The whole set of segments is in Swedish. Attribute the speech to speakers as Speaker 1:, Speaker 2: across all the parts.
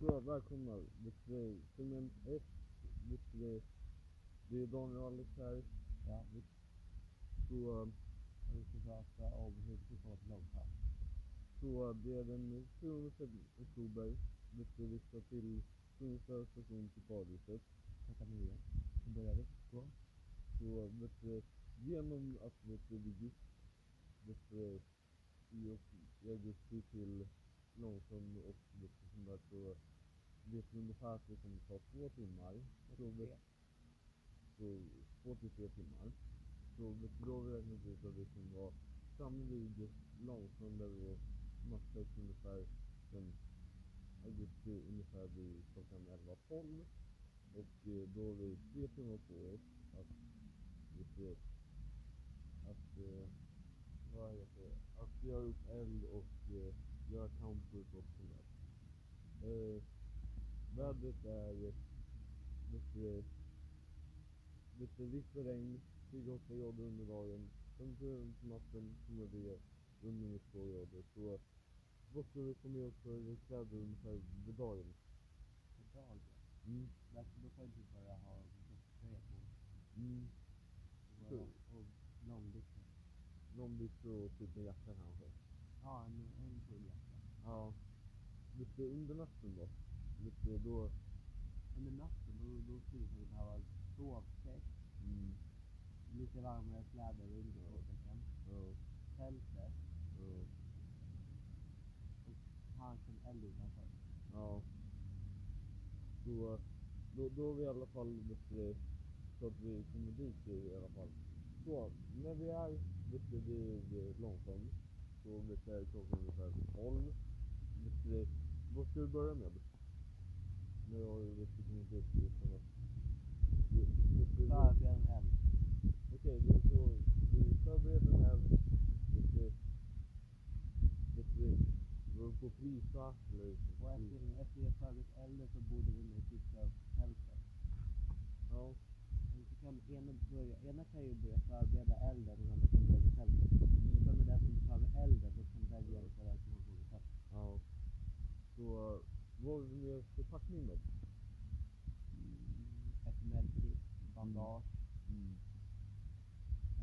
Speaker 1: Brödlar kommer With Grey. Filmen 1, With Grey. eh, Det är Daniel Alex här.
Speaker 2: Ja.
Speaker 1: With, så, eh,
Speaker 2: Och vi ska prata om hur vi får ett långpass.
Speaker 1: så det är den 7 oktober. With Grey listar till Sundsvalls station till Paradiset.
Speaker 2: Klockan nio. Så börjar vi på.
Speaker 1: Så vet du, genom att vet du, vi gick vet du, i, och- i augusti till Långsund och vet du, sånt där, så vet vi ungefär att det kommer ta två timmar. Så, vet, så två till tre timmar. Så vet du, då har vi räknat ut att vi kommer vara framme vid Långsund där vi matchar ungefär den augusti ungefär vid klockan 11.12. Och eh, då har vi tre timmar på oss att lite att eh, vad heter det? Att göra upp eld och eh, göra campus och sånt där. Eh, vädret är lite, lite vitt och regn, 28 grader under dagen, 57 på natten kommer det under minus 2 grader. Så vad ska vi få med oss för kläder ungefär vid dagen?
Speaker 2: För dagen.
Speaker 1: Mm.
Speaker 2: Där ska då får jag bara ha tröja på.
Speaker 1: Mm.
Speaker 2: Och, och långbyxor.
Speaker 1: Långbyxor och typ en jacka kanske.
Speaker 2: Ja, en, en full jacka.
Speaker 1: Ja. Lite under natten då. Lite då.
Speaker 2: Under natten då, då skulle vi behöva sovsäck,
Speaker 1: Mm.
Speaker 2: lite varmare kläder under sovsäcken,
Speaker 1: Ja.
Speaker 2: tältet
Speaker 1: Ja.
Speaker 2: och kanske en eld utanför.
Speaker 1: ja. Så då, då är vi i alla fall lite så att vi kommer dit i alla fall. Så när vi är lite vid Långsholm så vet jag klockan ungefär 12. Lite, vad ska vi börja med? Nu har vi lite kommit upp i sådana... Lite-
Speaker 2: Förbered en eld.
Speaker 1: Okej, vi, så, vi förbereder den här lite... lite... Går på frysa eller...
Speaker 2: Och efter, efter vi har förberett elden så borde vi nu fixa upp tältet.
Speaker 1: Ja,
Speaker 2: Men så kan ena, börja, ena kan ju börja förbereda elden och den andra kan börja tältet. Men vem är den som behöver elden då kan den jämföra den som har tagit tältet.
Speaker 1: ja. Så, eh, vad har vi med för packning då?
Speaker 2: Mm. Ett mältkit, bandage,
Speaker 1: Mm.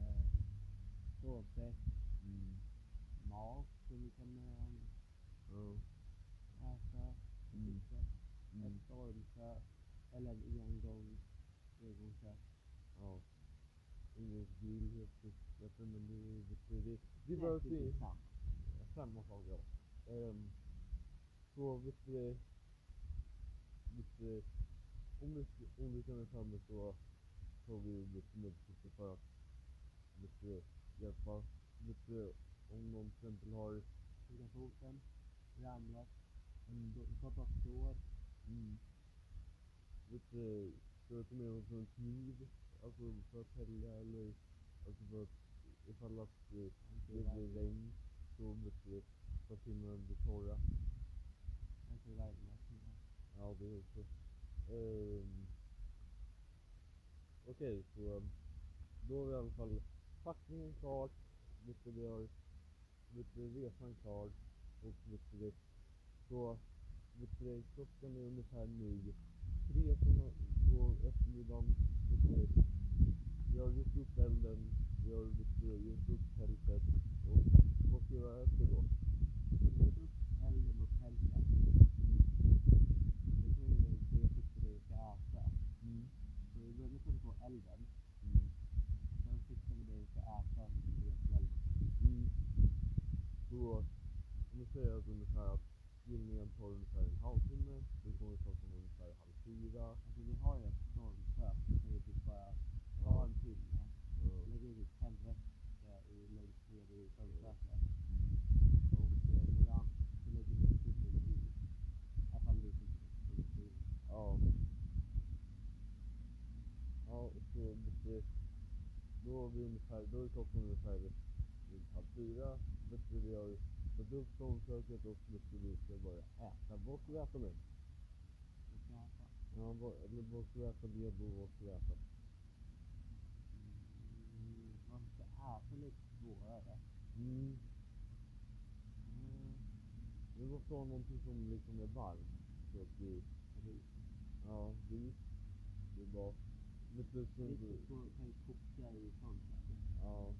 Speaker 2: eh, sovsäck,
Speaker 1: Mm.
Speaker 2: mat som vi kan eh,
Speaker 1: Ja.
Speaker 2: äta,
Speaker 1: Mm.
Speaker 2: fixa,
Speaker 1: Mm.
Speaker 2: ett stormkök eller en engång, engångskök.
Speaker 1: Ja. Ingen grill helt plötsligt. Jag tror men det är lite... Det, det är bara att
Speaker 2: Nästan
Speaker 1: se.
Speaker 2: samma.
Speaker 1: Samma sak ja. Um, så vet du... Vet du om, vi, om vi känner framme så tar vi lite mediciner för att vet du, hjälpa. Vet du, om någon till exempel har...
Speaker 2: Tuggat foten, ramlat,
Speaker 1: Mm,
Speaker 2: då- fått av sår.
Speaker 1: mm, vet du, ska vi ta med oss en kniv? Alltså för att hälla eller alltså för att ifall att eh, det blir regn så vet du, så att timren blir torra.
Speaker 2: Jag tror verkligen att det är-
Speaker 1: Ja, det är också. Ehm, Okej, så ehm, då har vi i alla fall packningen klar. Lite vi har lite resan klar. Och lite det. Så lite det, klockan är ungefär nu. Tre på, på eftermiddagen. Lite det. Vi har gjort upp elden. Vi har lite det, gjort upp tältet. Och vad ska vi göra efter då?
Speaker 2: Tuggat upp elden och tältet. Då kan vi väl börja fixa det vi ska äta.
Speaker 1: Mm.
Speaker 2: Så vi börjar med att få elden.
Speaker 1: Mm.
Speaker 2: Sen fixar vi det vi ska äta när vi är på elden.
Speaker 1: Mm. Så om vi säger att ungefär att grillningen tar ungefär en halvtimme, då kommer klockan ungefär halv fyra.
Speaker 2: Alltså vi har ju ett stormkök. Så kan vi typ bara ta en timme.
Speaker 1: eh,
Speaker 2: Lägga in ett tändvätska i längst ner i stormköket.
Speaker 1: Mm.
Speaker 2: Och eh, när vi an- så lägger vi ett timme i. I alla fall vi som ska stå i
Speaker 1: Ja. Ja, och så det, då har vi ungefär, då är klockan ungefär vid halv fyra. Vet du, vi har fått upp stormköket och vet du, vi ska börja äta. Vad ska vi äta med?
Speaker 2: Vi ska äta.
Speaker 1: Ja, vad, eller vad ska vi äta med och vad ska vi äta?
Speaker 2: Mm, man ska äta lite svårare.
Speaker 1: Mm.
Speaker 2: Mm.
Speaker 1: Vi måste ha någonting som liksom är varmt. så att det, ja, det är nytt. Det är bra. Men sen så,
Speaker 2: Lite så kan ju koka i sånt här.
Speaker 1: ja,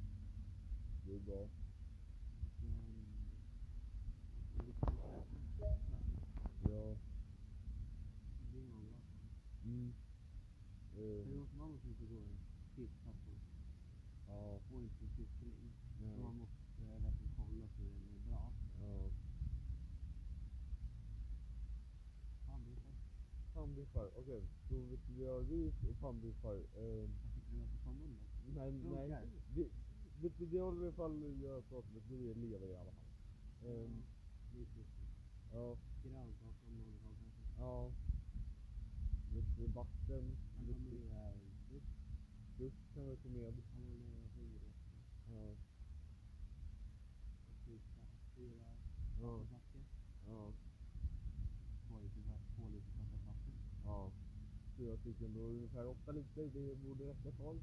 Speaker 1: det är bra. Ja, mm. Eh, ja, ja, ja. Pannbiffar, okej. Så vet du, vi har ris och pannbiffar. Eh, nej, nej.
Speaker 2: Funkar.
Speaker 1: Vi, vet du, det håller i alla fall jag pratar med, det är lever i alla fall. Eh,
Speaker 2: Mm.
Speaker 1: ja, ja. Vet du, vatten, vet du, frukt kan vi få med. Ja, ja, ja, ja. Fyra stycken, då är det ungefär åtta liter. Det borde räcka för allt.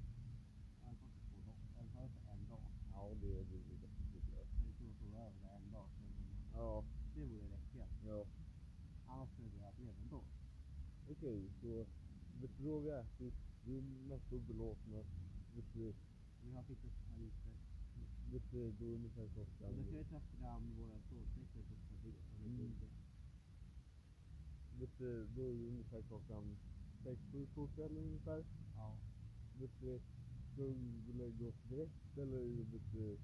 Speaker 1: Ja, det är det definitivt. ja. Ja,
Speaker 2: Det vore räcka.
Speaker 1: ja.
Speaker 2: Annars skulle det ha blivit ändå.
Speaker 1: Okej, så vet du, då har vi ätit. Vi är mest obelåtna. Vet du,
Speaker 2: Vi har fixat ett par listor.
Speaker 1: vet du, då är ungefär
Speaker 2: Och Då ska vi
Speaker 1: klockan.
Speaker 2: ta fram våra stålsäckar på partiet.
Speaker 1: Mm. Vet du, då är det ungefär klockan sex, sju på kvällen ungefär.
Speaker 2: Ja.
Speaker 1: Vet du, ska vi gå och lägga oss direkt eller vet du,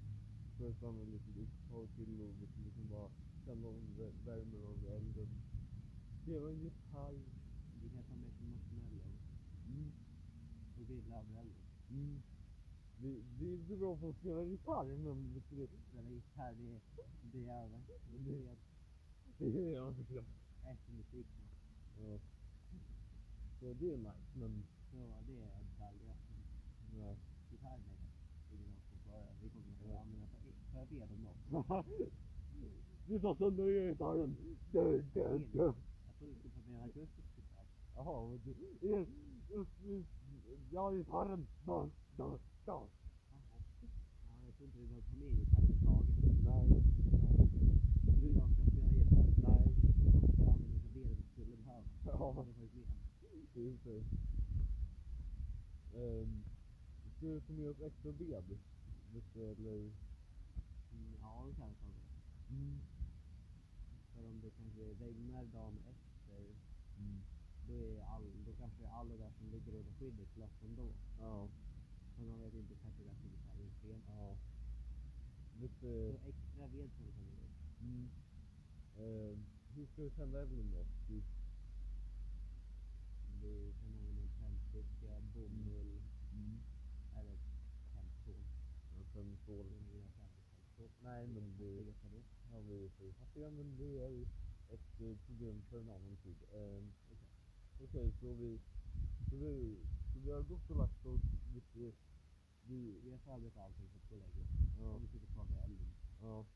Speaker 1: ska vi stanna lite ett tag till och vet du, liksom bara känna om vä- värmen av elden? Spela en gitarr.
Speaker 2: Vi kan ta med lite marshmallow
Speaker 1: Mm.
Speaker 2: och grilla avbränning.
Speaker 1: Mm. Det, det är inte bra på att spela gitarr men vet du,
Speaker 2: Spela gitarr, det, det är över. Det är
Speaker 1: det är jag inte
Speaker 2: efter musik. då.
Speaker 1: Ja. Så det är nice men
Speaker 2: Så det är en galge.
Speaker 1: nej.
Speaker 2: Gitarr med det. Det är något som bara- Vi kommer att behöva använda för, för fel om något.
Speaker 1: Du tar sönder gitarren. Dö, dö, dö.
Speaker 2: Jag tror du skulle ta med en akustisk gitarr.
Speaker 1: Jaha, men du... er- upp- upp- Ja, gitarren. Da, da, da.
Speaker 2: Jaha. Ja, jag tror inte vi behöver ta med gitarr överhuvudtaget.
Speaker 1: Nej,
Speaker 2: Vi ska spela gitarr.
Speaker 1: nej.
Speaker 2: Vi kommer att använda för det vi skulle behöva.
Speaker 1: Ja.
Speaker 2: Det har vi varit med om.
Speaker 1: Det är ju inte... Ehm, Ska vi ta med oss extra ved? Vet du, eller...
Speaker 2: Mm, Ja, det kan vi ta med.
Speaker 1: Mm.
Speaker 2: För om det kanske regnar dagen efter,
Speaker 1: Mm.
Speaker 2: då, är all, då kanske alla där som ligger under skyddet slåss ändå.
Speaker 1: Ja,
Speaker 2: För man vet inte kanske det finns här i fel.
Speaker 1: ja. Vet du...
Speaker 2: Så extra ved som kan vi
Speaker 1: Mm. Ehm, hur ska vi tända elden då? Vi-
Speaker 2: Vi kan använda en tändsticka, bomull eller tändstål.
Speaker 1: Jag tänder
Speaker 2: Om
Speaker 1: stål.
Speaker 2: vi vill ha tändstål.
Speaker 1: Nej, men det...
Speaker 2: Det är för det.
Speaker 1: Ja, vi är för fattiga, men det är ett eh, problem för en annan tid. Ehm, Okej, så, vi, så, vi, så vi har gått och lagt oss. Vi, vi, vi,
Speaker 2: Vi har förberett allting för att gå och lägga oss.
Speaker 1: ja,
Speaker 2: Och vi sitter kvar vid elden.
Speaker 1: ja.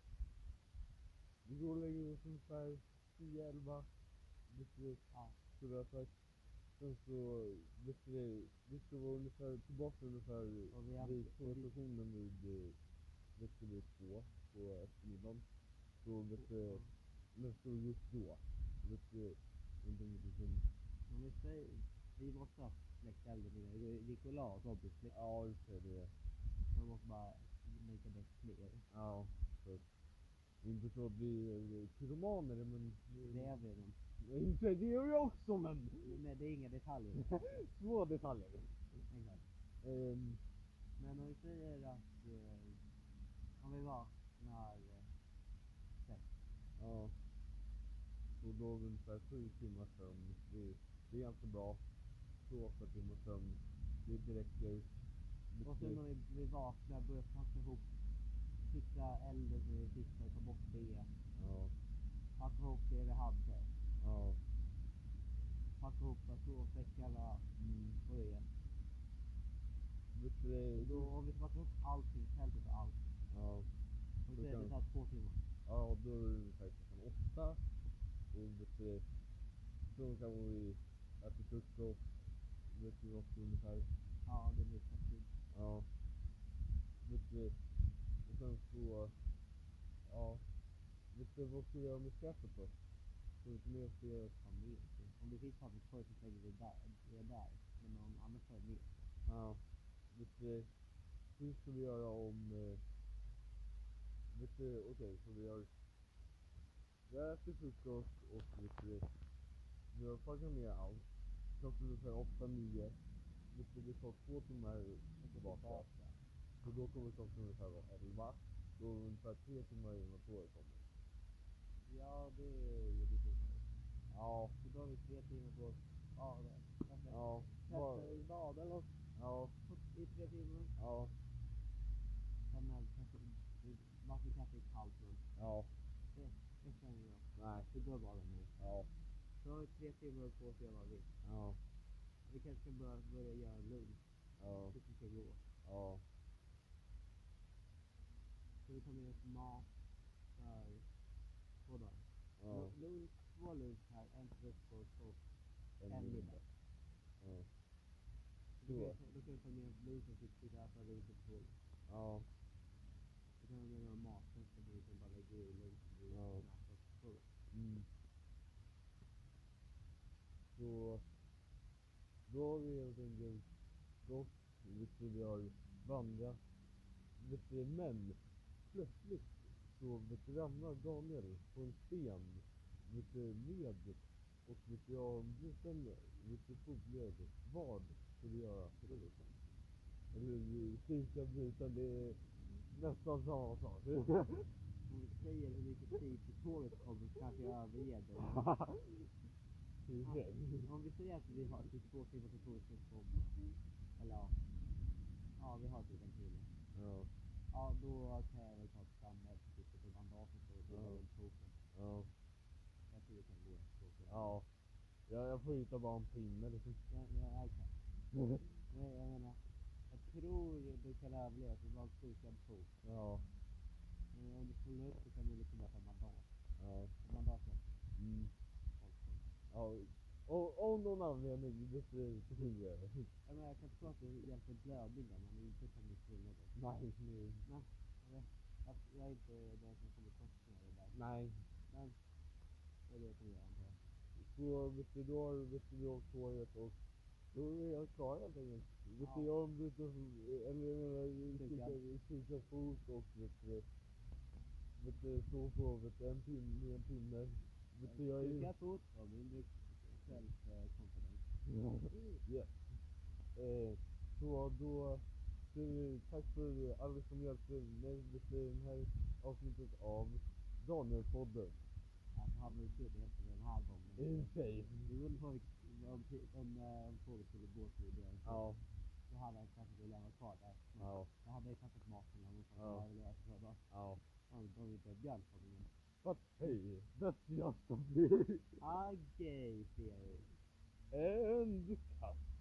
Speaker 1: vi går och lägger oss ungefär 10-11. Vet du,
Speaker 2: Ja.
Speaker 1: så vi har sagt. Sen så, vet du, vi ska vara ungefär tillbaka ungefär
Speaker 2: Och vi har-
Speaker 1: vid
Speaker 2: och vi-
Speaker 1: skolstationen vid, eh, vet du, vid två på eftermiddagen. Så vet du,
Speaker 2: Ja.
Speaker 1: men så just då, vet du, inte mycket som...
Speaker 2: Men vi, säger, vi måste ha släckt elden innan vi går- gick och la oss obviously.
Speaker 1: Ja, just det. det
Speaker 2: Man måste bara make a bit clear.
Speaker 1: ja, så att, inte så att vi är pyromaner, men...
Speaker 2: Det är vi nog.
Speaker 1: Inte det är jag också, men
Speaker 2: Men det är inga detaljer.
Speaker 1: små detaljer.
Speaker 2: Exakt.
Speaker 1: Ehm,
Speaker 2: Men om vi säger att eh, om vi vaknar eh, sex.
Speaker 1: ja. Så då har vi ungefär sju timmar sömn. Det, det är ganska bra. Sju, åtta timmar sömn. Det det räcker.
Speaker 2: Och sen när vi, vi vaknar, börjar packa ihop, fixa elden som vi fixade, ta bort det.
Speaker 1: Ja,
Speaker 2: Packa ihop det vi hade.
Speaker 1: ja.
Speaker 2: Packa ihop sovsäckarna
Speaker 1: Mm.
Speaker 2: och det.
Speaker 1: Vet du,
Speaker 2: Då, om vi ska packa ihop allting, tältet och allt.
Speaker 1: Ja.
Speaker 2: Och
Speaker 1: Då
Speaker 2: det,
Speaker 1: kan-
Speaker 2: det tar två timmar.
Speaker 1: Ja, och då är det ungefär klockan åtta. Och vet du, så kan vi äta frukost. Vet du, åtta ungefär.
Speaker 2: Ja, det blir för tid.
Speaker 1: Ja. Vet du, och sen så... Ja. Vet du, vad ska vi göra med skräpet då? Så får inte med sig att...
Speaker 2: Fan, vet du. Om det finns papperskorg så tänker vi där, det är där. Men om annars så är det
Speaker 1: Ja. Vet du, hur ska vi göra om... eh, Vet du, okej, så vi har... Vi har ätit frukost och vet du, vi har packat med allt. Klockan är så här åtta, nio. Vet du, det tar två timmar tillbaka. Så då kommer klockan ungefär vara elva. Då är det ungefär tre timmar innan tåget kommer.
Speaker 2: Ja, det är ju lite omöjligt.
Speaker 1: Ja,
Speaker 2: Så då har vi tre timmar på oss. Ja, det. Kanske.
Speaker 1: ja, bara,
Speaker 2: Kanske i rad eller något.
Speaker 1: ja,
Speaker 2: i tre timmar.
Speaker 1: ja,
Speaker 2: Sen är det kanske, varför kanske ett kallt rum.
Speaker 1: ja,
Speaker 2: Det känner jag.
Speaker 1: nej,
Speaker 2: Det bör vara nu.
Speaker 1: ja,
Speaker 2: Så har vi tre timmar på oss att göra vad vi vill.
Speaker 1: ja,
Speaker 2: Vi kanske ska börja, börja göra lunch.
Speaker 1: ja,
Speaker 2: Det ska gå.
Speaker 1: ja.
Speaker 2: Så vi tar med oss mat för två dagar.
Speaker 1: ja.
Speaker 2: Lu- Lunch, två lunch här, en frukost och
Speaker 1: en
Speaker 2: en
Speaker 1: minut.
Speaker 2: middag.
Speaker 1: Ja.
Speaker 2: Då kan
Speaker 1: Då.
Speaker 2: vi ta- då kan vi ta med oss lunchen till till det här för lunchen på tåget.
Speaker 1: Ja,
Speaker 2: Då kan vi med några matsäckar som vi kan bara lägga i lunchen i
Speaker 1: Ja.
Speaker 2: natten på tåget.
Speaker 1: mm. Så då har vi helt enkelt gått, vet du, vi har vandrat. Vet du, men plötsligt så vet du, ramlar Daniel på en sten, vet du, ned. Och vet du, jag har en liten, vet du, fotled. Vad ska vi göra? Eller styrka bruten, det är nästan samma sak.
Speaker 2: Om vi säger hur mycket tid till tåget kommer så kanske jag överger dig. Om vi säger att vi har typ två timmar till tåget som kommer. Eller ja. Ja, vi har typ en timme.
Speaker 1: Ja,
Speaker 2: Ja, då kan jag väl ta fram ett stycke till bandaget och rulla
Speaker 1: Ja.
Speaker 2: runt token.
Speaker 1: ja.
Speaker 2: Jag tror det kan gå. ett tåg.
Speaker 1: Ja. Jag, jag får hitta bara en pinne liksom.
Speaker 2: Ja, ja, alltså. Nej, jag menar. Jag tror du kan överleva för bara skjuta en fot.
Speaker 1: Ja.
Speaker 2: Men om du spolar upp så kan du liksom bara ta bandage.
Speaker 1: Ja.
Speaker 2: Bandaget.
Speaker 1: Mm. ja. Och av någon anledning, det är så sker det.
Speaker 2: Jag menar, jag kan förstå att det hjälper blödningar men inte kan bli tvingad.
Speaker 1: Nej, nej.
Speaker 2: Att jag är inte den som kommer först med det där.
Speaker 1: Nej.
Speaker 2: Men det är det jag kan göra. antar jag.
Speaker 1: Så vet du, då har vet du, vi har åkt tåget och då är jag klar helt enkelt. Vet du,
Speaker 2: Ja.
Speaker 1: jag har brutit, eller jag menar,
Speaker 2: Klickat.
Speaker 1: klickat- klickat fot och vet du, vet du, så på vet du, en pinne, med en pinne. Vet du, jag är ju...
Speaker 2: Stukad fot var mindre självkonfidens.
Speaker 1: Yes. Eh, så då, du, tack för alla som hjälpte mig med det här avsnittet av Danielpodden.
Speaker 2: Alltså han var ju tydlig för den här gången.
Speaker 1: I sig.
Speaker 2: Vi undrar om, om, om, eh, om tåget skulle gå till det.
Speaker 1: Ja,
Speaker 2: Då hade han kanske velat lämna kvar där.
Speaker 1: ja,
Speaker 2: Då hade jag kastat maten och sagt
Speaker 1: Ja.
Speaker 2: att jag ville äta bara.
Speaker 1: ja.
Speaker 2: Om om inte Björn kom in.
Speaker 1: Vad hej, that's just a bit.
Speaker 2: Okej, Felix.
Speaker 1: And cut.